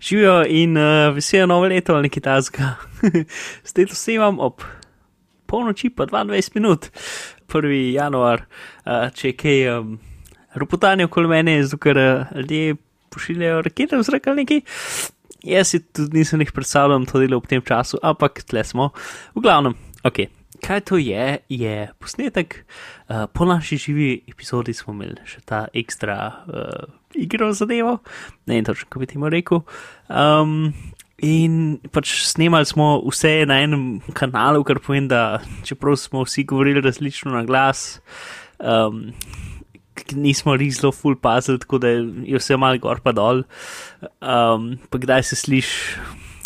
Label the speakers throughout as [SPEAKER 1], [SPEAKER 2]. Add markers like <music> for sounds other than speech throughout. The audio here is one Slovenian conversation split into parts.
[SPEAKER 1] Živijo in uh, veselo novo leto ali nekaj tasga. <laughs> Zdaj to se vam ob polnoči pa 22 minut, 1. januar, uh, če je kaj um, ropotanje okoli mene, zato ker uh, ljudje pošiljajo rakete v zrak ali nekaj. Jaz si tudi nisem jih predstavljal, to delo ob tem času, ampak tle smo. V glavnem, ok. Kaj to je, je posnetek. Uh, po naši živi epizodi smo imeli še ta ekstra uh, igro zadevo, ne vem točno, kako bi temu rekel. Um, in pač snemali smo vse na enem kanalu, kar pomeni, da čeprav smo vsi govorili različno na glas, um, nismo res zelo full puzzle, tako da je vse malo gor pa dol. Um, pa kdaj se sliši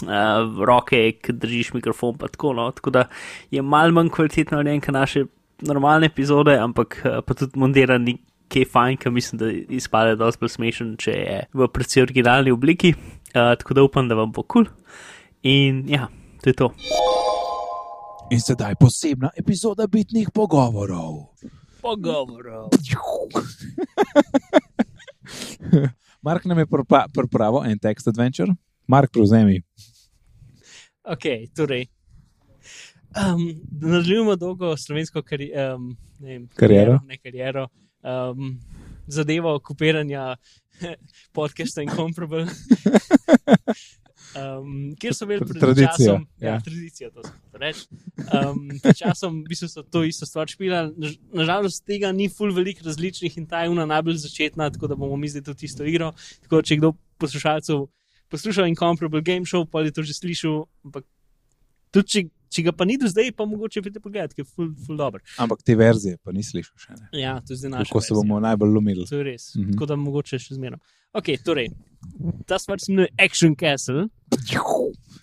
[SPEAKER 1] uh, roke, ki držiš mikrofon, pa tako. No? Tako da je malo manj kvalitetno narejen, kot naše normalne epizode, ampak uh, pa tudi mondiran ni kaj fajn, ker mislim, da izpade dosti bolj smešen, če je v precej originalni obliki. Uh, tako da upam, da vam bo kul. Cool. In ja, to je to.
[SPEAKER 2] In sedaj posebna epizoda bitnih pogovorov.
[SPEAKER 1] Pogovorov.
[SPEAKER 2] <laughs> Mark nam je pripa- pripravil en tekst adventure, Mark prevzemi.
[SPEAKER 1] Ok, torej. Um, da nadaljujemo dolgo slovensko kari, um, ne vem,
[SPEAKER 2] Kariero.
[SPEAKER 1] Ne kariero. Um, zadevo okupiranja <laughs> podcasta
[SPEAKER 2] <laughs>
[SPEAKER 1] Incomparable. Um, kjer so imeli pred
[SPEAKER 2] Tradicija,
[SPEAKER 1] časom, ja,
[SPEAKER 2] ja.
[SPEAKER 1] ja. tradicija, to se reče. Um, pred časom v bistvu so to isto stvar špila. Nažalost, tega ni ful veliko različnih in ta je ena najbolj začetna, tako da bomo mi zdaj tudi isto igro. Tako da, če kdo poslušalcev poslušal Incomparable Game Show, pa je to že slišal, ampak tudi če, če ga pa ni do zdaj, pa mogoče pridete pogledat, ker je ful, ful dober.
[SPEAKER 2] Ampak te verzije pa nisi slišal še. Ne?
[SPEAKER 1] Ja, to je zdaj naš.
[SPEAKER 2] Kako se bomo najbolj lomili.
[SPEAKER 1] To je res.
[SPEAKER 2] Mhm.
[SPEAKER 1] Mm -hmm. Tako da mogoče še zmeraj. Ok, torej, ta stvar se imenuje Action Castle.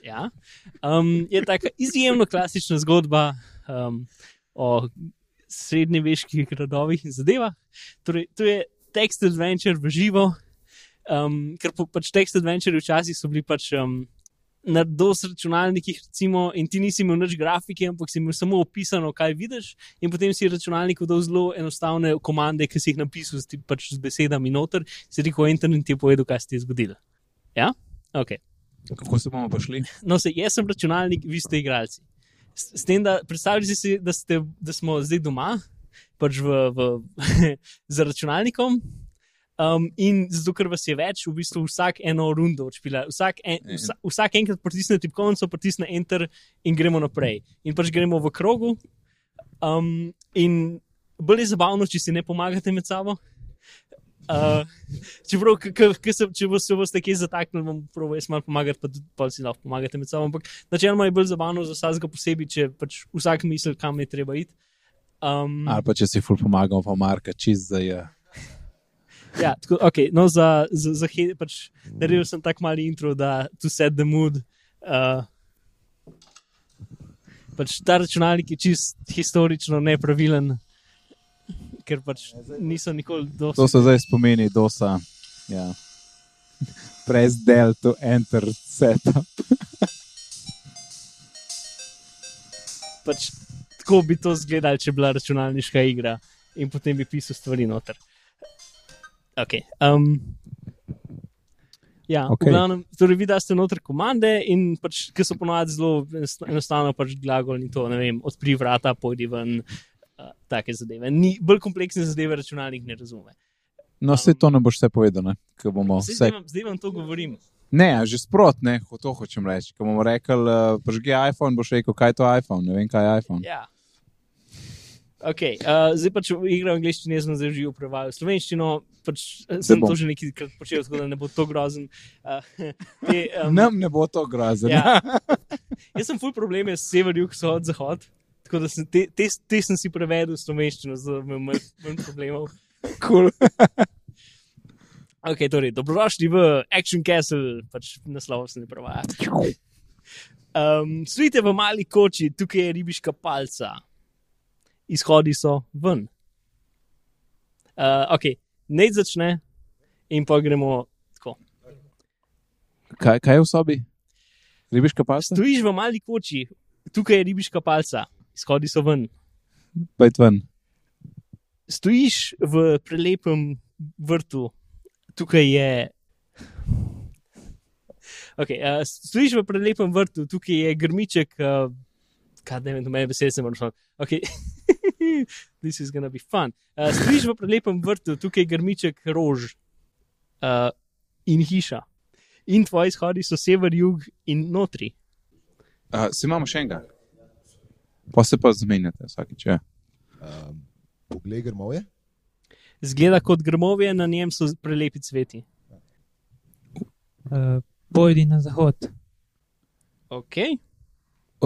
[SPEAKER 1] Ja. Um, je tako izjemno klasična zgodba um, o srednjeveških gradovih in zadevah. Torej, to je tekst adventure v živo, um, ker po, pač tekst adventure včasih so bili pač. Um, Na dos računalnikih, recimo, in ti nisi imel nič grafike, ampak si imel samo opisano, kaj vidiš, in potem si računalniku dal zelo enostavne komande, ki si jih napisal s ti- pač z besedami noter, si rekel, enter in ti je povedal, kaj se ti je zgodilo. Ja? Ok.
[SPEAKER 2] Kako se bomo pašli?
[SPEAKER 1] No, se, jaz sem računalnik, vi ste igralci. S, s tem, da predstavljate si, da, ste, da smo zdaj doma, pač v, <laughs> v, za računalnikom. Um, in zato, ker vas je več, v bistvu vsak eno rundo odšpila, vsak, en,
[SPEAKER 2] Mhm.
[SPEAKER 1] vsa, vsak enkrat pritisne tipkovnico, pritisne enter in gremo naprej. In pač gremo v krogu. Um, in bolj je zabavno, če si ne pomagate med sabo. Uh, čeprav, k, k, k se, če bo- se boste kje zataknili, bom proval jaz malo pomagati, pa tudi pol si lahko pomagate med sabo. Ampak načeloma je bolj zabavno za vsakega posebej, če pač vsak misli, kam je treba iti. Um,
[SPEAKER 2] Ali pa če si ful pomagamo, pa Marka čist za je.
[SPEAKER 1] ja, tako, okay, no, za, za, za he, pač, naredil sem tako mali intro, da tu set the mood. Uh, pač ta računalnik je čist historično nepravilen, ker pač niso nikoli
[SPEAKER 2] To
[SPEAKER 1] dosti.
[SPEAKER 2] se zdaj spomeni, dosa. Ja. Press del to enter setup.
[SPEAKER 1] Pač, tako bi to izgledalo, če bi bila računalniška igra in potem bi pisal stvari noter. Okay, um, ja,
[SPEAKER 2] Okej.
[SPEAKER 1] okay. glavnem, torej vi daste noter komande, in pač, ki so ponovadi zelo enosta- enostavno, pač glagol in to, ne vem, odpri vrata, pojdi ven, uh, take zadeve. Ni, bolj kompleksne zadeve računalnik ne razume.
[SPEAKER 2] No, vse to ne boš vse povedal, ne? Ko bomo
[SPEAKER 1] Zdaj,
[SPEAKER 2] vse
[SPEAKER 1] zdaj, vam, zdaj vam to govorim.
[SPEAKER 2] Ne, že sprotne, to hočem reči. Ko bomo rekli, uh, prižgi iPhone, boš rekel, kaj je to iPhone, ne vem, kaj je iPhone.
[SPEAKER 1] Ja. Okay, uh, zdaj pač igram angliščino, jaz sem zdaj že upravljal slovenščino, pač eh, sem
[SPEAKER 2] bom.
[SPEAKER 1] to že nekajkrat počel, tako da ne bo to grozen. Uh, <laughs> te, um,
[SPEAKER 2] Nam ne bo to grozno. Ja.
[SPEAKER 1] ja. <laughs> Jaz sem full probleme s sever, jug, vzhod, zahod. Tako da sem te, te, te sem si prevedel v slovenščino, zato imam manj, manj problemov.
[SPEAKER 2] <laughs> Cool.
[SPEAKER 1] Ok, torej, dobrodošli v Action Castle, pač naslov se ne prevaja. Um, Svite v mali koči, tukaj je ribiška palca. Izhodi so ven. Uh, ok, ne začne, in pa gremo tako.
[SPEAKER 2] Kaj, kaj je v sobi? Ribiška pasta?
[SPEAKER 1] Stojiš v mali koči, tukaj je ribiška palca, izhodi so ven.
[SPEAKER 2] Pojdi ven.
[SPEAKER 1] Stojiš v <laughs> prelepem vrtu, tukaj je. Okay, uh, stojiš v prelepem vrtu, tukaj je grmiček, uh, kaj ne vem, do mene besede sem vrnil. Okay. <laughs> This is gonna be fun. Uh, stojiš v prelepem vrtu, tukaj je grmiček rož uh, in hiša. In tvoji shodi so sever, jug in notri.
[SPEAKER 2] Uh, si imamo še enega. Pa se pa zamenjate vsakič. Ja.
[SPEAKER 3] Um, poglej, grmo je.
[SPEAKER 1] Zgleda kot grmovje, na njem so prelepi cveti.
[SPEAKER 4] Uh, pojdi na zahod.
[SPEAKER 1] Okay.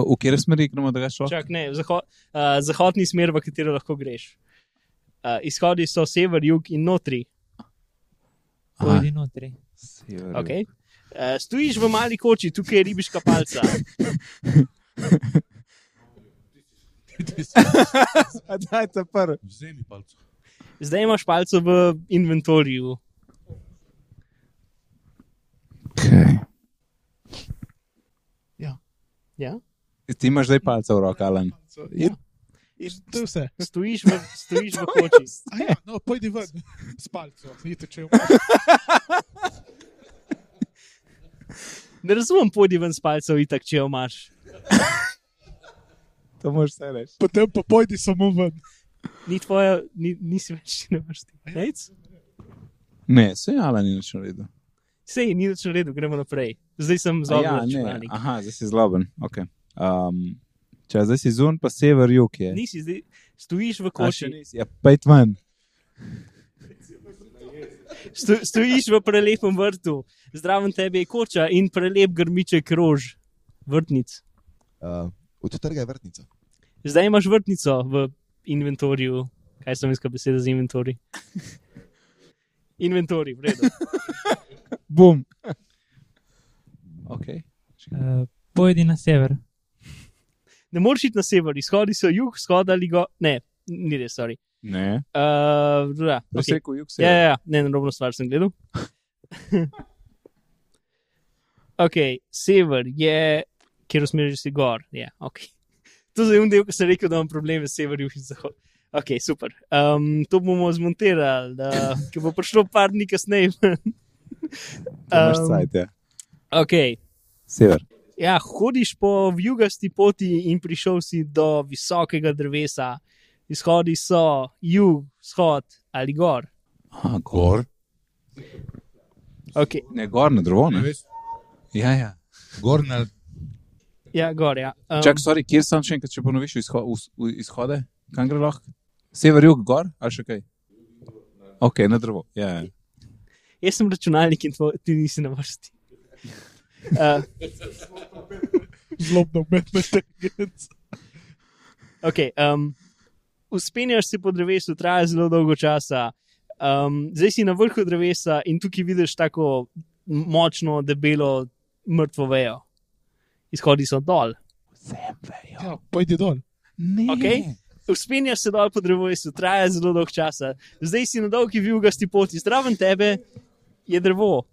[SPEAKER 2] V v kateri smeri gremo, da ga šlo?
[SPEAKER 1] Čak, ne, zaho, uh, zahodni smer, v katero lahko greš. Uh, izhodi so sever, jug in notri.
[SPEAKER 4] Pojdi notri.
[SPEAKER 2] Sever,
[SPEAKER 1] Okay. Uh, stojiš v mali koči, tukaj je ribiška palca.
[SPEAKER 2] A daj ta prvi.
[SPEAKER 3] Vzemi palce.
[SPEAKER 1] Zdaj imaš palco v inventorju.
[SPEAKER 2] Okay.
[SPEAKER 1] Ja?
[SPEAKER 2] Ti imaš zdaj palce v roki, Alan.
[SPEAKER 5] To je vse.
[SPEAKER 1] Stojiš, v, stojiš v koči.
[SPEAKER 5] <laughs> A Ja, no, pojdi ven, spalco, ni tečejo.
[SPEAKER 1] Ne razumem, pojdi ven s palcev, itak, če jo imaš.
[SPEAKER 2] To moraš vse reči.
[SPEAKER 5] Potem pa pojdi samo ven.
[SPEAKER 1] Ni tvoja, ni, nisi več, ne imaš ti. Nejc?
[SPEAKER 2] Ne, se je Alan ni nič naredil.
[SPEAKER 1] Sej, ni več na redu, gremo naprej. Zdaj sem
[SPEAKER 2] A
[SPEAKER 1] za
[SPEAKER 2] ja, ne.
[SPEAKER 1] računalnik.
[SPEAKER 2] Aha, zdaj si zloben. Okay. Um, če zdaj si zun, pa sever jug je.
[SPEAKER 1] Nisi zdaj, stojiš v
[SPEAKER 2] A, še
[SPEAKER 1] koči.
[SPEAKER 2] nisi. Ja, pejt ven.
[SPEAKER 1] Sto, stojiš v prelepem vrtu, zraven tebe je koča in prelep grmiček rož, vrtnic.
[SPEAKER 3] Uh, Odtrga je vrtnica.
[SPEAKER 1] Zdaj imaš vrtnico v inventorju, kaj sem iskal besede za
[SPEAKER 2] <laughs>
[SPEAKER 1] inventori. Inventori, v redu.
[SPEAKER 4] Bum.
[SPEAKER 2] Okay.
[SPEAKER 4] Uh, pojdi na sever.
[SPEAKER 1] Ne moreš iti na sever, izhodi so jug, shod ali go. Ne, ni res, sorry.
[SPEAKER 2] Ne,
[SPEAKER 1] Uh, da,
[SPEAKER 2] okay.
[SPEAKER 1] okay.
[SPEAKER 2] rekel jug se.
[SPEAKER 1] Ja, ja, ja, ne, narobno stvar sem gledal. <laughs> ok, sever je, kjer usmeriš si gor. Ja, ok. To je zdaj del, ki sem rekel, da imam probleme s severjem in zahodom. Ok, super. Um, to bomo zmontirali, da, ki bo prišlo par dni kasneje.
[SPEAKER 2] Imaš
[SPEAKER 1] Em,
[SPEAKER 2] cajt, ja.
[SPEAKER 1] ok,
[SPEAKER 2] Sever.
[SPEAKER 1] ja, hodiš po jugasti poti in prišel si do visokega drevesa. Izhodi so jug, vzhod ali gor.
[SPEAKER 2] Aha, gor.
[SPEAKER 3] Gor.
[SPEAKER 1] Okay.
[SPEAKER 2] Ne, gor na drevo. Ne?
[SPEAKER 3] veš?
[SPEAKER 2] Ja, ja.
[SPEAKER 3] Gor na
[SPEAKER 1] Ja, gor, ja. Um,
[SPEAKER 2] Čak, sorry, kjer sem še enkrat, če ponoviš izho, v- v- izhode, kam gre lahko? Sever, jug, gor ali še kaj? Ok, na drevo. Ja, ja.
[SPEAKER 1] Jaz sem računalnik in tvoj, ti nisi na vrsti. <laughs> Uh,
[SPEAKER 5] Zlobna umetna inteligenca.
[SPEAKER 1] okay, um, uspenjaš se po drevesu, traja zelo dolgo časa. Um, zdaj si na vrhu drevesa in tukaj vidiš tako močno, debelo, mrtvo vejo. Izhodi so dol.
[SPEAKER 5] Ja, pojdi dol.
[SPEAKER 3] Eh,
[SPEAKER 2] Ne.
[SPEAKER 1] Okej. Uspenjaš se dol po drevesu, traja zelo dolgo časa. Zdaj si na dolgi vijugasti poti, zraven tebe je drevo.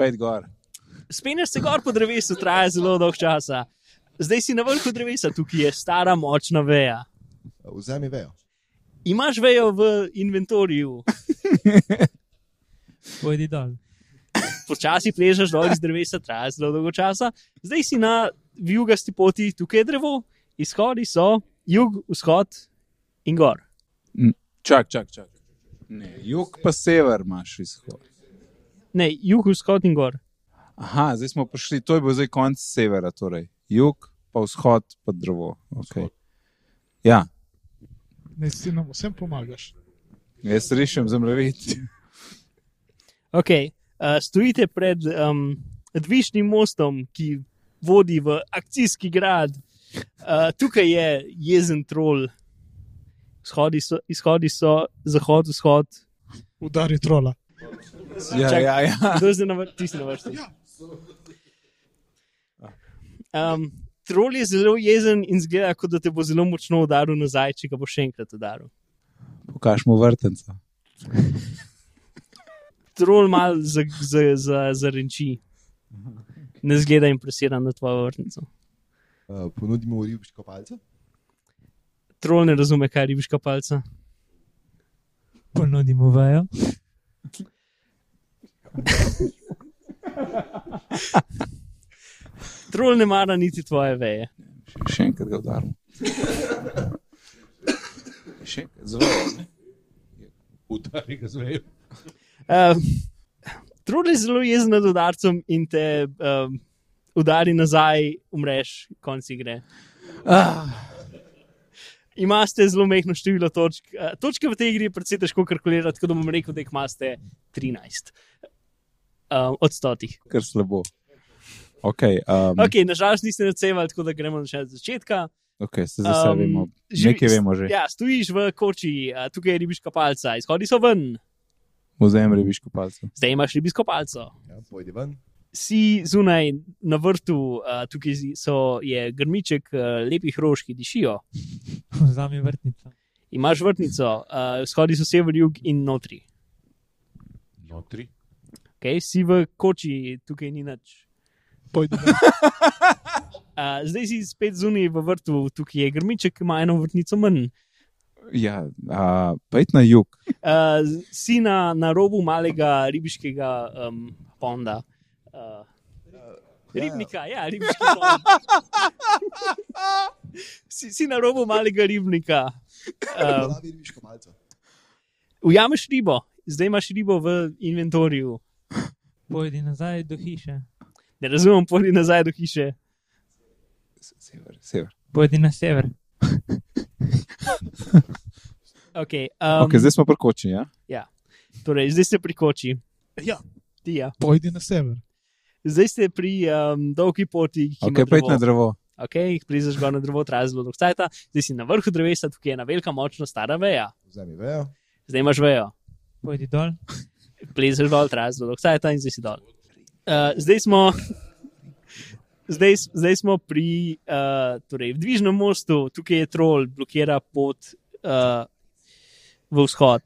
[SPEAKER 2] Pejt gor.
[SPEAKER 1] Spenjaš se gor po drevesu, traja zelo dolgo časa. Zdaj si na vrhu drevesa, tukaj je stara močna veja.
[SPEAKER 3] vzemi vejo.
[SPEAKER 1] Imaš vejo v inventorju,
[SPEAKER 4] Pojdi dol.
[SPEAKER 1] počasi pležeš dol iz drevesa, traja zelo dolgo časa. Zdaj si na jugasti poti, tukaj je drevo, izhodi so jug, vzhod in gor.
[SPEAKER 2] Čak, čak, čak. Ne, jug pa sever imaš izhod.
[SPEAKER 1] Ne, jug, vzhod in gor.
[SPEAKER 2] Aha, zdaj smo prišli, to je bil zdaj konc severa, torej jug, pa vzhod, pa drevo. Okay. Ja,
[SPEAKER 5] Ne, si nam vsem pomagaš.
[SPEAKER 2] jaz rešim zemljevid.
[SPEAKER 1] Okay. Uh, stojite pred um, dvišnim mostom, ki vodi v akcijski grad. Uh, tukaj je jezen trol, Shodi so, izhodi so zahod, vzhod.
[SPEAKER 5] Udari trola.
[SPEAKER 2] <laughs> Ja,
[SPEAKER 1] Čak.
[SPEAKER 2] ja, ja.
[SPEAKER 1] Kdo je zdaj na vrsti? Ti si na vrsti. Um, trol je zelo jezen in zgleda, kot da te bo zelo močno udaril nazaj, če ga bo še enkrat udaril.
[SPEAKER 2] Pokaž mu vrtenca.
[SPEAKER 1] Trol mal za, za, za, za renči. Ne zgleda impresiran na tvojo vrtnico.
[SPEAKER 3] Uh, ponudimo ribiško palce.
[SPEAKER 1] Trol ne razume, kaj je ribiška palca.
[SPEAKER 4] Ponudimo vejo.
[SPEAKER 1] Trol ne mara niti tvoje veje.
[SPEAKER 2] Še, še enkrat ga udarim. <laughs> še enkrat, zelo.
[SPEAKER 3] Udari ga zvejo.
[SPEAKER 1] Uh, Trol je zelo jezen nad udarcem in te um, udari nazaj, umreš, konc igre.
[SPEAKER 2] Ah,
[SPEAKER 1] Imate zelo mehko število točk. Eh, Točke v tej igri je precej težko kalkulirati, tako da bom rekel, da jih imate 13 um, od 100.
[SPEAKER 2] kar slabo. Okay, um, okay.
[SPEAKER 1] Ok, nažalost niste odsevali, tako da gremo še od začetka.
[SPEAKER 2] okay, se zdaj um,
[SPEAKER 1] Em,
[SPEAKER 2] vemo.
[SPEAKER 1] živi-
[SPEAKER 2] Nekaj vemo že.
[SPEAKER 1] Ja, stojiš v koči, eh, tukaj je ribiška palca, izhodi so ven,
[SPEAKER 2] Muzejem ribiško palce.
[SPEAKER 1] zdaj imaš ribiško palco.
[SPEAKER 3] Ja, pojdi ven.
[SPEAKER 1] si zunaj na vrtu, uh, tukaj zi- so, je grmiček uh, lepih rož, ki dišijo.
[SPEAKER 4] Vzami vrtnico.
[SPEAKER 1] Imaš vrtnico, uh, vzhodi so sever, jug in notri.
[SPEAKER 3] Notri.
[SPEAKER 1] Okay? Si v koči, tukaj ni nič. <laughs>
[SPEAKER 5] Pojdi ven.
[SPEAKER 1] Uh, zdaj si spet zunaj v vrtu, tukaj je grmiček, ima eno vrtnico manj.
[SPEAKER 2] Ja, a, pojdi na jug.
[SPEAKER 1] Uh, si na, na robu malega ribiškega um, ponda. Uh, Ribnika, ja, ribiški pond. si, si na robu malega ribnika. Um,
[SPEAKER 3] Pravi Torej, ribiško malce.
[SPEAKER 1] Ujameš ribo, zdaj imaš ribo v inventorju.
[SPEAKER 4] Pojdi nazaj do hiše.
[SPEAKER 1] Ne razumem, pojdi nazaj do hiše.
[SPEAKER 2] Se- Sever, sever. <laughs>
[SPEAKER 4] Pojdi na sever.
[SPEAKER 1] Okay,
[SPEAKER 2] Um,
[SPEAKER 1] um,
[SPEAKER 2] okay, zdaj smo prkoči. Ja?
[SPEAKER 1] torej, zdaj ste pri koči.
[SPEAKER 5] Ja.
[SPEAKER 1] Ti, ja.
[SPEAKER 5] Pojdi na sever.
[SPEAKER 1] Zdaj ste pri um, dolgi poti, ki
[SPEAKER 2] Okay,
[SPEAKER 1] okay,
[SPEAKER 2] pojdi na
[SPEAKER 1] drevo.
[SPEAKER 2] drevo.
[SPEAKER 1] Okay, jih prizeš gor na drevo, traja zelo dolgo časa, zdaj si na vrhu drevesa, tukaj je ena velika, močna stara veja.
[SPEAKER 3] Vzemi vejo.
[SPEAKER 1] Zdaj imaš vejo,
[SPEAKER 4] Pojdi dol.
[SPEAKER 1] plezeš dol, traja zelo dolgo časa in zdaj si dol. Uh, zdaj smo. <laughs> Zdaj, s- zdaj smo pri uh, torej, v Dvižnem mostu, tukaj je trol, blokira pot uh, v vzhod.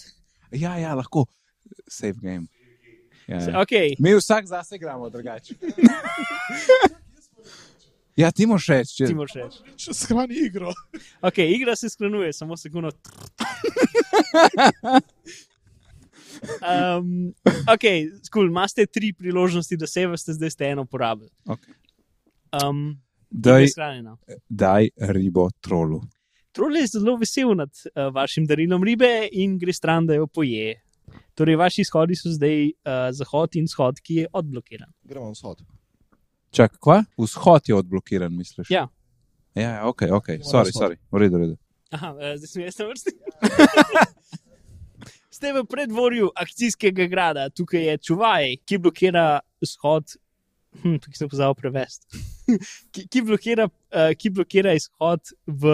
[SPEAKER 2] Ja, ja, lahko. Safe game. Ja, ja.
[SPEAKER 1] Okay.
[SPEAKER 2] Mi vsak zase igramo drugače. <laughs> ja, ti moraš reči. Če...
[SPEAKER 1] Ti moraš reči.
[SPEAKER 5] Če shrani
[SPEAKER 1] <laughs>
[SPEAKER 5] igro.
[SPEAKER 1] Okay, igra se sklenuje, samo sekundo. Um, ok, skul, imate tri priložnosti, da se veste, zdaj ste eno porabili.
[SPEAKER 2] Okay.
[SPEAKER 1] Um,
[SPEAKER 2] Daj,
[SPEAKER 1] je shranjena.
[SPEAKER 2] daj ribo trolu.
[SPEAKER 1] Trol no. je zelo vesel nad uh, vašim darilom ribe in gre stran, da jo poje. Torej, vaši izhodi so zdaj uh, zahod in vzhod, ki je odblokiran.
[SPEAKER 3] Gremo na vzhod.
[SPEAKER 2] Čak, kva? Vzhod je odblokiran, misliš?
[SPEAKER 1] Ja.
[SPEAKER 2] Ja, ja, ok, ok, sorry, sorry. v redu, v redu.
[SPEAKER 1] Aha, uh, zdaj sem jaz na vrsti. <laughs> Ste v predvorju akcijskega grada, tukaj je čuvaj, ki blokira izhod. Hm, tukaj sem pozabil prevesti. <laughs> ki, ki, blokira, uh, ki blokira izhod v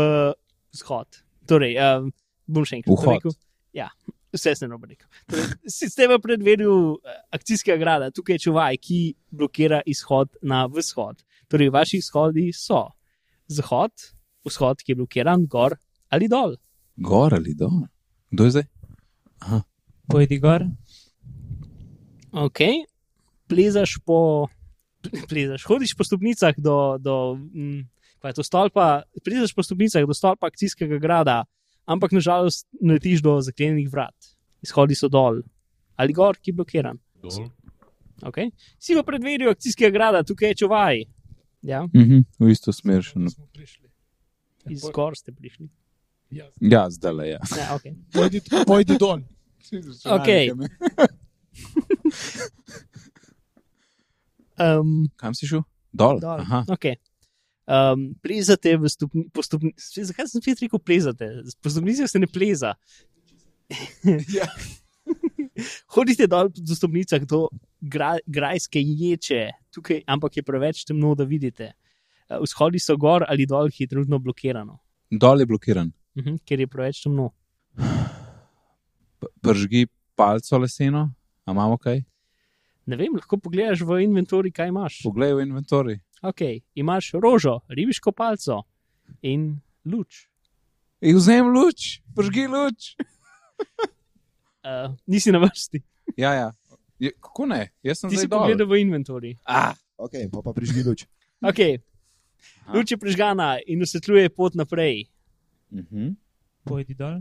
[SPEAKER 1] vzhod. Torej, um, bom še enkrat to
[SPEAKER 2] Vhod.
[SPEAKER 1] rekel. Ja, vse sem narobe rekel. Torej, si- ste v predvorju eh, akcijskega grada, tukaj je čuvaj, ki blokira izhod na vzhod. Torej, vaši izhodi so zahod, vzhod, ki je blokiran, gor ali dol.
[SPEAKER 2] Gor ali dol? Kdo je zdaj?
[SPEAKER 4] Pojdi gor.
[SPEAKER 1] Ok, plezaš po, plezaš, hodiš po stopnicah do, do, mm, kaj je to stolpa, plezaš po stopnicah do stolpa akcijskega grada, ampak nažalost naletiš do zaklenjenih vrat. Izhodi so dol ali gor, ki je blokiran.
[SPEAKER 3] Dol.
[SPEAKER 1] Okay. Si v predverju akcijskega grada, tukaj je čuvaj. Ja,
[SPEAKER 2] Mhm, v isto smer še. ne-
[SPEAKER 5] Smo prišli.
[SPEAKER 1] iz gor ste prišli.
[SPEAKER 5] Ja.
[SPEAKER 2] Ja, zdaj le je.
[SPEAKER 1] Ja, okay.
[SPEAKER 5] Pojdi, pojdi <laughs> dol.
[SPEAKER 1] Okej. <laughs> um,
[SPEAKER 2] Kam si šel? Dol.
[SPEAKER 1] Dol.
[SPEAKER 2] Aha.
[SPEAKER 1] Okay. Um, plezate v stopni, po stopni, zakaj sem spet rekel plezate? Po stopnicah se ne pleza.
[SPEAKER 2] <laughs> Ja.
[SPEAKER 1] <laughs> Hodite dol po stopnicah do gra, grajske ječe, tukaj, ampak je preveč temno, da vidite. Eh, Vzhodi so gor ali dol, ki je trenutno blokirano,
[SPEAKER 2] Dol je blokiran.
[SPEAKER 1] mhm, ker je preveč temno.
[SPEAKER 2] P- Pržgi palco leseno, a imamo kaj?
[SPEAKER 1] Ne vem, lahko pogledaš v inventori, kaj imaš.
[SPEAKER 2] Poglej v inventori.
[SPEAKER 1] Okay, imaš rožo, ribiško palco in luč.
[SPEAKER 2] In vzem luč, pržgi luč.
[SPEAKER 1] Uh, nisi na vrsti.
[SPEAKER 2] Ja, ja. Je, kako ne? Jaz sem
[SPEAKER 1] Ti si
[SPEAKER 2] zdaj dol.
[SPEAKER 1] pogledal v inventori.
[SPEAKER 2] Ah,
[SPEAKER 3] Ok, pa pa prižgi luč.
[SPEAKER 1] Okay.
[SPEAKER 2] Aha.
[SPEAKER 1] Luč je prižgana in osvetljuje pot naprej.
[SPEAKER 2] mhm.
[SPEAKER 4] Pojdi dol.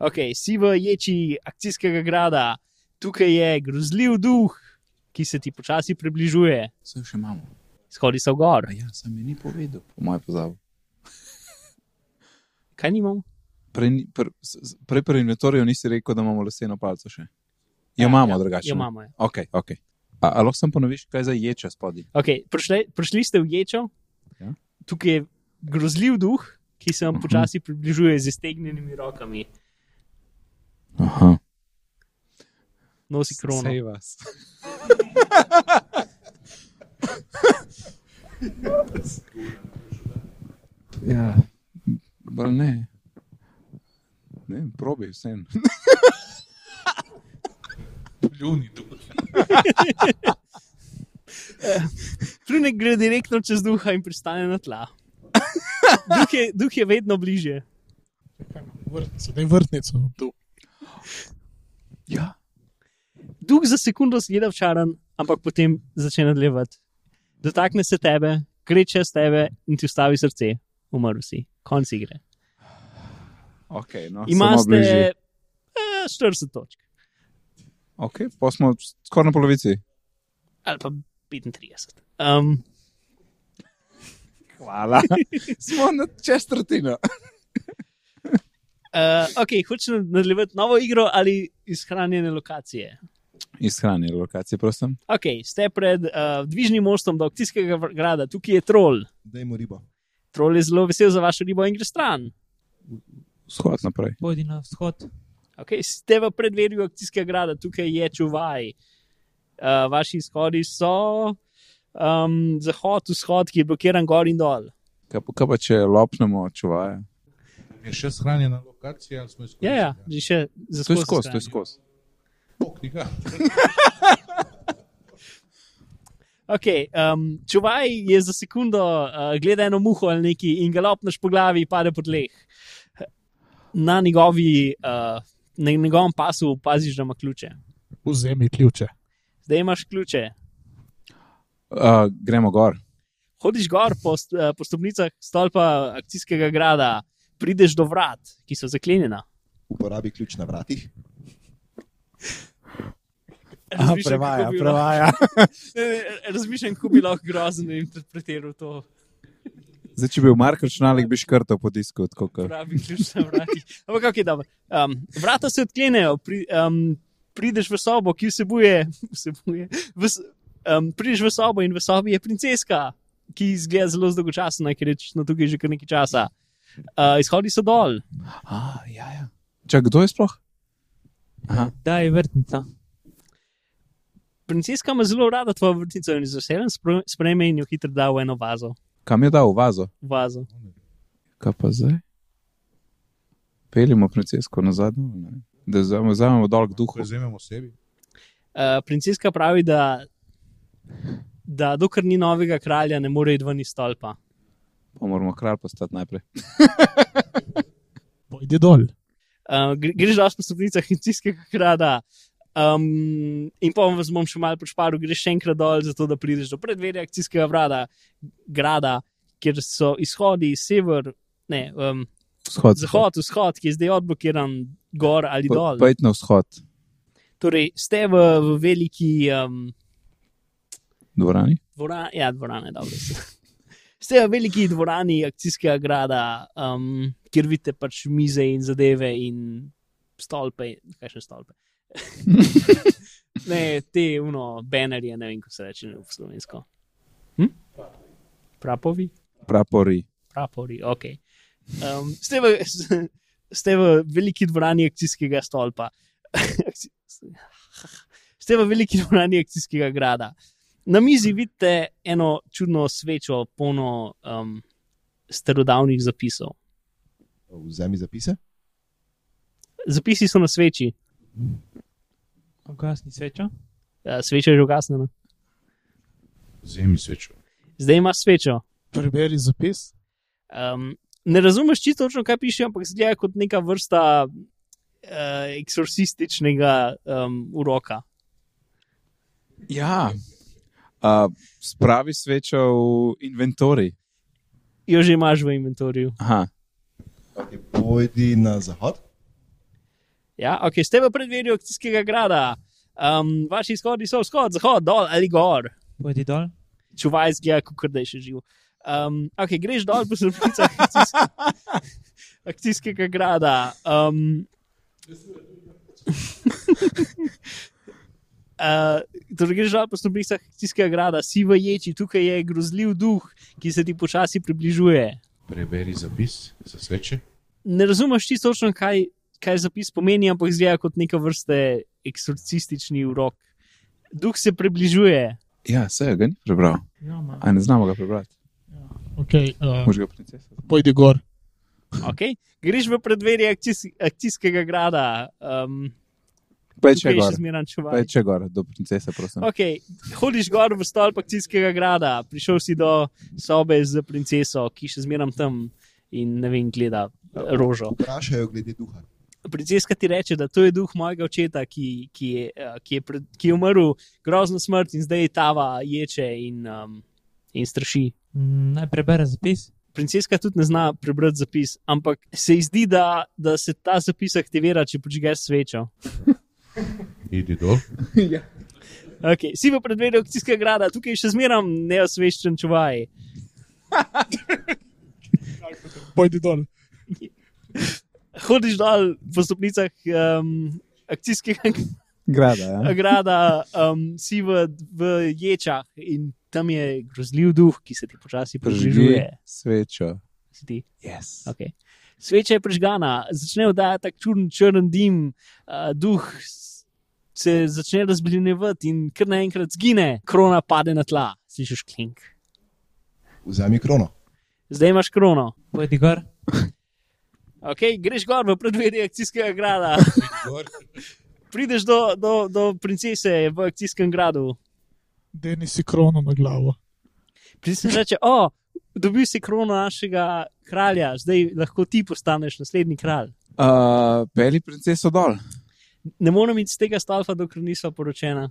[SPEAKER 1] Okay, si v ječi akcijskega grada, tukaj je grozljiv duh, ki se ti počasi približuje.
[SPEAKER 2] Vse še imamo.
[SPEAKER 1] Shodi so gor.
[SPEAKER 2] A Ja, sem mi ni povedal, po mojem pozavu.
[SPEAKER 1] Kaj nimamo?
[SPEAKER 2] Prej ni- pr- s- s- prej pri inventorju nisi rekel, da imamo leseno palico še. Jo imamo drugače.
[SPEAKER 1] Jo
[SPEAKER 2] ne?
[SPEAKER 1] imamo. Ja.
[SPEAKER 2] Ok, ok. A, a lahko sem ponoviš, kaj za ječa spodi?
[SPEAKER 1] Okay, prišli, prišli ste v ječo,
[SPEAKER 2] Ja.
[SPEAKER 1] ja. tukaj je grozljiv duh, ki se vam
[SPEAKER 2] Mhm.
[SPEAKER 1] počasi približuje z iztegnjenimi rokami,
[SPEAKER 2] Aha.
[SPEAKER 1] nosi krono.
[SPEAKER 2] Sej vas. <laughs> ja, bolj ne. Ne, vem, probi vse. <laughs> Ljuni tu.
[SPEAKER 1] Trunek gre direktno čez duha in pristane na
[SPEAKER 2] <laughs>
[SPEAKER 1] tla. Duh je, duh je vedno bliže.
[SPEAKER 5] Vrtnico, daj vrtnico.
[SPEAKER 2] Ja,
[SPEAKER 1] Duh za sekundo zgleda včaran, ampak potem začne nadaljevati. Dotakne se tebe, gre čez tebe in ti ustavi srce. Umrl si, konc igre.
[SPEAKER 2] ok. No, samo
[SPEAKER 1] Imate
[SPEAKER 2] bližje.
[SPEAKER 1] eh, 40 točk
[SPEAKER 2] Ok, pa smo skoraj na polovici.
[SPEAKER 1] ali pa 35. Um,
[SPEAKER 2] Hvala. <laughs> smo na čez tretjino.
[SPEAKER 1] uh, ok, hočeš nadaljevati novo igro ali izhranjene lokacije.
[SPEAKER 2] Izhranjene lokacije, prosim.
[SPEAKER 1] Ok, ste pred uh, dvižnim mostom do Oktijskega grada, tukaj je trol.
[SPEAKER 3] Dajmo ribo.
[SPEAKER 1] Trol je zelo vesel za vašo ribo in gre stran.
[SPEAKER 2] Shod naprej.
[SPEAKER 4] Pojdi na vzhod.
[SPEAKER 1] Okay, ste v predverju akcijskega grada, tukaj je čuvaj. Uh, vaši izhodi so um, zahod, vzhod, ki je blokiran gor in dol.
[SPEAKER 2] Kaj, pa- kaj pa če lopnemo čuvaja?
[SPEAKER 5] Je še shranjena lokacija, ali smo izkoristili?
[SPEAKER 1] Ja, ja, že še za
[SPEAKER 2] To je
[SPEAKER 1] skozi
[SPEAKER 2] skozi, to je
[SPEAKER 1] stran.
[SPEAKER 2] skozi.
[SPEAKER 5] Poknika.
[SPEAKER 1] Okay, um, čuvaj je za sekundo uh, gleda eno muho ali neki in ga lopneš po glavi in pade po tleh. Na, njegovi, uh, na njegovem pasu opaziš, da ima ključe.
[SPEAKER 5] Vzemi ključe.
[SPEAKER 1] Zdaj imaš ključe.
[SPEAKER 2] Uh, gremo gor.
[SPEAKER 1] Hodiš gor po, st- eh, po stopnicah stolpa akcijskega grada, prideš do vrat, ki so zaklenjena.
[SPEAKER 3] Uporabi ključ na vratih.
[SPEAKER 1] Razmišljam, kako bi lahko-
[SPEAKER 2] prevaja.
[SPEAKER 1] Ne, ne, Razmišljam, kako bi lahko grozno interpretiral to,
[SPEAKER 2] Zdaj, če bi bil Mark računalnik, bi škrtal po disku. tako kot-
[SPEAKER 1] <laughs> pravi ključ na vratih. Ampak kako je dobro. Um, vrata se odklenejo, pri, um, prideš v sobo, ki vsebuje. vsebuje ves, um, prideš v sobo in v sobi je princeska, ki izgleda zelo zdolgočasna, ker je očitno tukaj že kar nekaj časa. Uh, izhodi so dol.
[SPEAKER 2] A, ja, ja. Če kdo je sploh?
[SPEAKER 4] Daj vrtnica.
[SPEAKER 1] Princeska ima zelo rada tvojo vrtnico in z veseljem spro- sprejme in jo hitro da v eno vazo.
[SPEAKER 2] Kam je dal v vazo?
[SPEAKER 1] vazo.
[SPEAKER 2] Kaj pa zdaj? Peljemo princesko nazaj, dol, ne? da vzame- vzamemo dol k duhu.
[SPEAKER 5] Ko vzememo sebi.
[SPEAKER 1] Uh, princeska pravi, da, da dokler ni novega kralja, ne more iti ven iz stolpa.
[SPEAKER 2] Pa moramo kralj postati najprej.
[SPEAKER 5] Pojdi dol.
[SPEAKER 1] Uh, gre- greš dol po stopnicah princijskega grada. Um, in pa vas bom še malo počparil, greš še enkrat dol, zato da prideš do predverja akcijskega vrada, grada, kjer so izhodi sever, ne, um,
[SPEAKER 2] Vzhod.
[SPEAKER 1] zahod, vzhod, ki je zdaj odblokiran gor ali dol.
[SPEAKER 2] Pojdi na vzhod,
[SPEAKER 1] Torej, ste v, v veliki um,
[SPEAKER 2] dvorani.
[SPEAKER 1] dvorani, ja, dvorane, dobro. <laughs> Ste v veliki dvorani akcijskega grada, um, kjer vidite pač mize in zadeve in stolpe, kaj še stolpe. ne, te uno, benerje, ne vem, kako se reče v slovensko. Hm? Prapovi?
[SPEAKER 2] Prapori.
[SPEAKER 1] Prapori, ok. Um, <laughs> ste, v, ste v veliki dvorani akcijskega stolpa. <laughs> ste v veliki dvorani akcijskega grada. Na mizi vidite eno čudno svečo, polno um, starodavnih zapisov.
[SPEAKER 3] Eh, Vzemi zapise.
[SPEAKER 1] Zapisi so na sveči,
[SPEAKER 4] Ugasni svečo.
[SPEAKER 1] Eh, sveča je že ugasnjena.
[SPEAKER 5] Vzemi svečo.
[SPEAKER 1] Zdaj imaš svečo.
[SPEAKER 5] Preberi zapis.
[SPEAKER 1] Um, ne razumeš čisto točno, kaj piše, ampak zgleda kot neka vrsta uh, eksorcističnega um, uroka.
[SPEAKER 2] Ja. Uh, spravi svečo v inventori.
[SPEAKER 1] Jo že imaš v inventorju.
[SPEAKER 2] Aha.
[SPEAKER 3] Okay, pojdi na zahod.
[SPEAKER 1] Ja, ok, ste v predverju akcijskega grada. Um, vaši izhodi so vzhod, zahod, dol ali gor.
[SPEAKER 4] Pojdi dol.
[SPEAKER 1] čuvaj zgleda, kot da je še živ. Um, ok, greš dol po stopnicah akcijs akcijskega grada. Um, <laughs> Uh, torej, greš dol po stopnicah akcijskega grada, si v ječi, tukaj je grozljiv duh, ki se ti počasi približuje.
[SPEAKER 5] Preberi zapis za sveče.
[SPEAKER 1] Ne razumeš čisto točno, kaj, kaj zapis pomeni, ampak zgleda kot neka vrste eksorcistični urok. Duh se približuje.
[SPEAKER 2] Ja, se ga ni prebral.
[SPEAKER 5] Ja, ma.
[SPEAKER 2] A ne znamo ga prebrati.
[SPEAKER 1] Ja,
[SPEAKER 5] Okay, uh,
[SPEAKER 1] eh,
[SPEAKER 2] Može ga princesa.
[SPEAKER 5] pojdi gor.
[SPEAKER 1] Okay? Greš v predverje akcijs akcijskega grada, um,
[SPEAKER 2] Peče
[SPEAKER 1] tukaj je
[SPEAKER 2] gor.
[SPEAKER 1] še zmeraj čuvaj.
[SPEAKER 2] Peče gor do princese, prosim.
[SPEAKER 1] Okay, hodiš gor v stolp akcijskega grada, prišel si do sobe z princeso, ki še zmeraj tam in ne vem, gleda eh, rožo.
[SPEAKER 3] Vprašajo glede duha.
[SPEAKER 1] Princeska ti reče, da to je duh mojega očeta, ki, ki, je, eh, ki, je, pred, ki je umrl grozno smrt in zdaj tava ječe in, um, in straši.
[SPEAKER 4] Mm, Naj prebere zapis.
[SPEAKER 1] Princeska tudi ne zna prebrati zapis, ampak se ji zdi, da, da se ta zapis aktivira, če počgaš svečo.
[SPEAKER 5] Idi dol.
[SPEAKER 1] Okay, si v predverju akcijskega grada, tukaj je še zmeraj neosveščen čuvaj.
[SPEAKER 5] <laughs> Pojdi dol.
[SPEAKER 1] Hodiš dol po stopnicah um, akcijskega
[SPEAKER 2] Grada, ja.
[SPEAKER 1] <laughs> grada, um, si v, v ječah in tam je grozljiv duh, ki se ti počasi
[SPEAKER 2] Prižgi
[SPEAKER 1] približuje.
[SPEAKER 2] svečo.
[SPEAKER 1] Se ti
[SPEAKER 2] Yes.
[SPEAKER 1] Okay. Sveča je prižgana, začne vdajati tak čuden, črn dim, uh, duh s- se začne razblinevati in kar naenkrat zgine, krona pade na tla, slišiš klink.
[SPEAKER 3] Vzemi krono.
[SPEAKER 1] Zdaj imaš krono.
[SPEAKER 4] Pojdi gor.
[SPEAKER 1] Okay, greš gor v predverje akcijskega grada,
[SPEAKER 5] Gor.
[SPEAKER 1] prideš do, do, do princese v akcijskem gradu.
[SPEAKER 5] Deni si krono na glavo.
[SPEAKER 1] Princesa reče: O, dobil si krono našega kralja, zdaj lahko ti postaneš naslednji kralj.
[SPEAKER 2] Uh, peli princeso dol.
[SPEAKER 1] Ne morem iti z tega stolpa, dokler nisva poročena.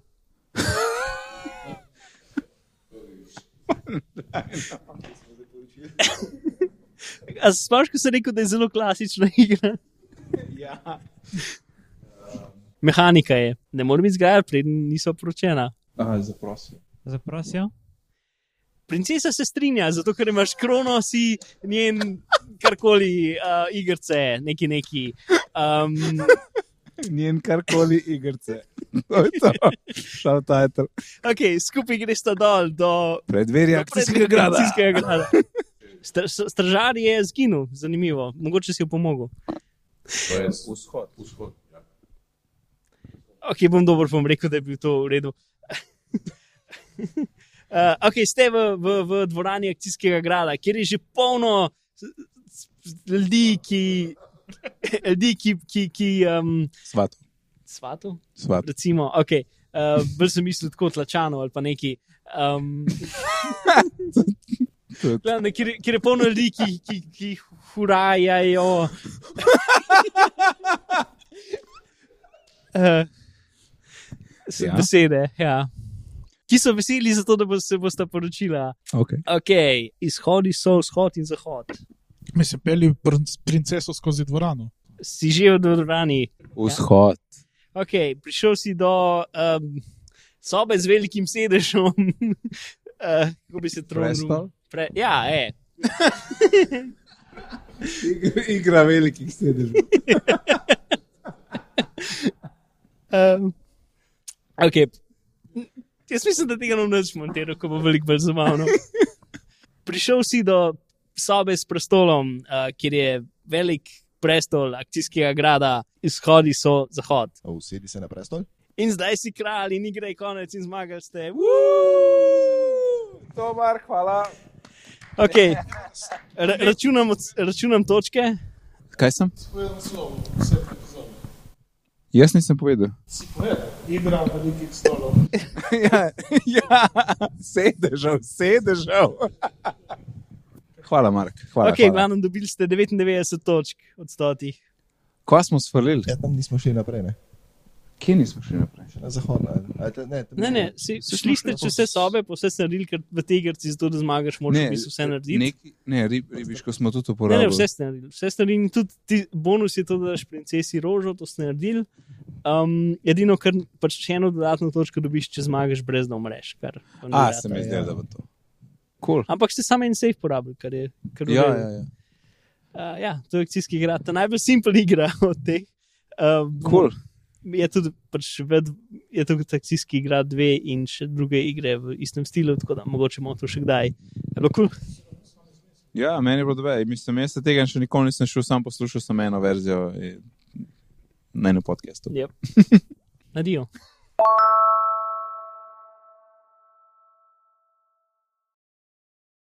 [SPEAKER 1] A se Splošno sem rekel, da je zelo klasična igra. Ja. Mehanika je, ne morem izgajati, preden niso poročena.
[SPEAKER 2] Uh, zaprosil.
[SPEAKER 4] Zaprosijo.
[SPEAKER 1] Princesa se strinja, zato ker imaš krono, si njen karkoli uh, igrice, neki neki. Um,
[SPEAKER 2] Njen karkoli igrice. To je
[SPEAKER 1] <laughs>
[SPEAKER 2] to. Šel title.
[SPEAKER 1] okay, skupaj greš dol do
[SPEAKER 2] Predverje akcijskega Ja, grada.
[SPEAKER 1] Akcijskega grada. Str- s- Stražar je zginil, zanimivo, mogoče si je pomogel.
[SPEAKER 2] Vzhod.
[SPEAKER 5] Vzhod.
[SPEAKER 1] Ok, bom dober, bom rekel, da je bil to v redu. <laughs> uh, ok, ste v, v, v dvorani akcijskega grada, kjer je že polno s- s- ljudi, ki. <laughs> Ljudi, ki. ki, ki um,
[SPEAKER 2] Svat.
[SPEAKER 1] Svato?
[SPEAKER 2] Svat.
[SPEAKER 1] Recimo, ok. Uh, bolj sem mislil tako tlačano ali pa neki. Um, Glavne, kjer, kjer je polno ljudi, ki, ki, ki hurajajo. uh, ja.
[SPEAKER 2] Ja.
[SPEAKER 1] Besede, ja. ki so veseli, zato da bo se bosta poročila.
[SPEAKER 2] Okay.
[SPEAKER 1] Okay, izhodi so vzhod in zahod.
[SPEAKER 5] Mi se peli princ- princeso skozi dvorano.
[SPEAKER 1] Si že v dvorani.
[SPEAKER 2] Vzhod.
[SPEAKER 1] Okay, prišel si do um, sobe z velikim sedežem, <laughs> uh, kako bi se
[SPEAKER 2] Prestol?
[SPEAKER 1] trudil. Pre, ja, e.
[SPEAKER 2] <laughs> Igra velikih sedežev.
[SPEAKER 1] Um, okay. Jaz mislim, da tega ne bom več montiral, ko bo veliko bolj zabavno. Prišel si do sobe s prestolom, uh, kjer je velik prestol akcijskega grada, izhodi so zahod.
[SPEAKER 3] Eh, Usedi se na prestol.
[SPEAKER 1] In zdaj si kralj, in igre je konec, in zmagali ste.
[SPEAKER 2] Dobar, hvala.
[SPEAKER 1] Okay. Ra računam, od- računam točke.
[SPEAKER 2] Kaj sem? Jaz nisem povedal.
[SPEAKER 5] Igra velikih stolov.
[SPEAKER 2] <laughs> ja, ja, sedežev, sedežev. <laughs> Hvala, Mark. Hvala,
[SPEAKER 1] Okay,
[SPEAKER 2] okay,
[SPEAKER 1] v
[SPEAKER 2] hvala.
[SPEAKER 1] glavnem dobili ste 99 točk od 100.
[SPEAKER 2] Ko smo svalili,
[SPEAKER 1] Ja.
[SPEAKER 3] Ja, tam nismo šli naprej, ne?
[SPEAKER 2] kje nismo šli naprej?
[SPEAKER 3] Še na zahod. ali- A, ta, ne, tam
[SPEAKER 1] Ne,
[SPEAKER 3] je-
[SPEAKER 1] ne, si,
[SPEAKER 2] Saj
[SPEAKER 1] šli
[SPEAKER 2] smo
[SPEAKER 1] ste
[SPEAKER 2] šli.
[SPEAKER 1] čez vse sobe, pa vse ste naredili ker v tej igrici, zato da zmagaš, moraš v bistvu
[SPEAKER 2] eh,
[SPEAKER 1] vse narediti.
[SPEAKER 2] Neki, ne, rib, ribiško smo tudi
[SPEAKER 1] Ne,
[SPEAKER 2] uporabili.
[SPEAKER 1] ne, vse ste naredili. Vse ste naredili, in tudi ti, bonus je to, da daš princesi rožo, to ste naredili. Um, edino, kar pač še eno dodatno točko dobiš, če zmagaš, brez da umreš. Kar, pa ni
[SPEAKER 2] A,
[SPEAKER 1] rata.
[SPEAKER 2] se mi
[SPEAKER 3] Ja.
[SPEAKER 2] zdelo, da bo to. Cool.
[SPEAKER 1] Ampak ste samo en safe porabili, kar je. Kar v
[SPEAKER 2] Ja,
[SPEAKER 1] redu.
[SPEAKER 2] ja, ja.
[SPEAKER 1] Uh, ja, to je akcijski igra, ta najbolj simpel igra od teh. Um,
[SPEAKER 2] Cool.
[SPEAKER 1] Je tudi pač ved, je to kot akcijski igra, dve in še druge igre v istem stilu, tako da mogoče bomo to še kdaj. Je bilo kul? Cool?
[SPEAKER 2] ja, meni je bilo dobe. Mislim, jaz se tega še nikoli nisem šel, sam poslušal sem eno verzijo eh, na enem podkastu.
[SPEAKER 1] Yep. Adijo.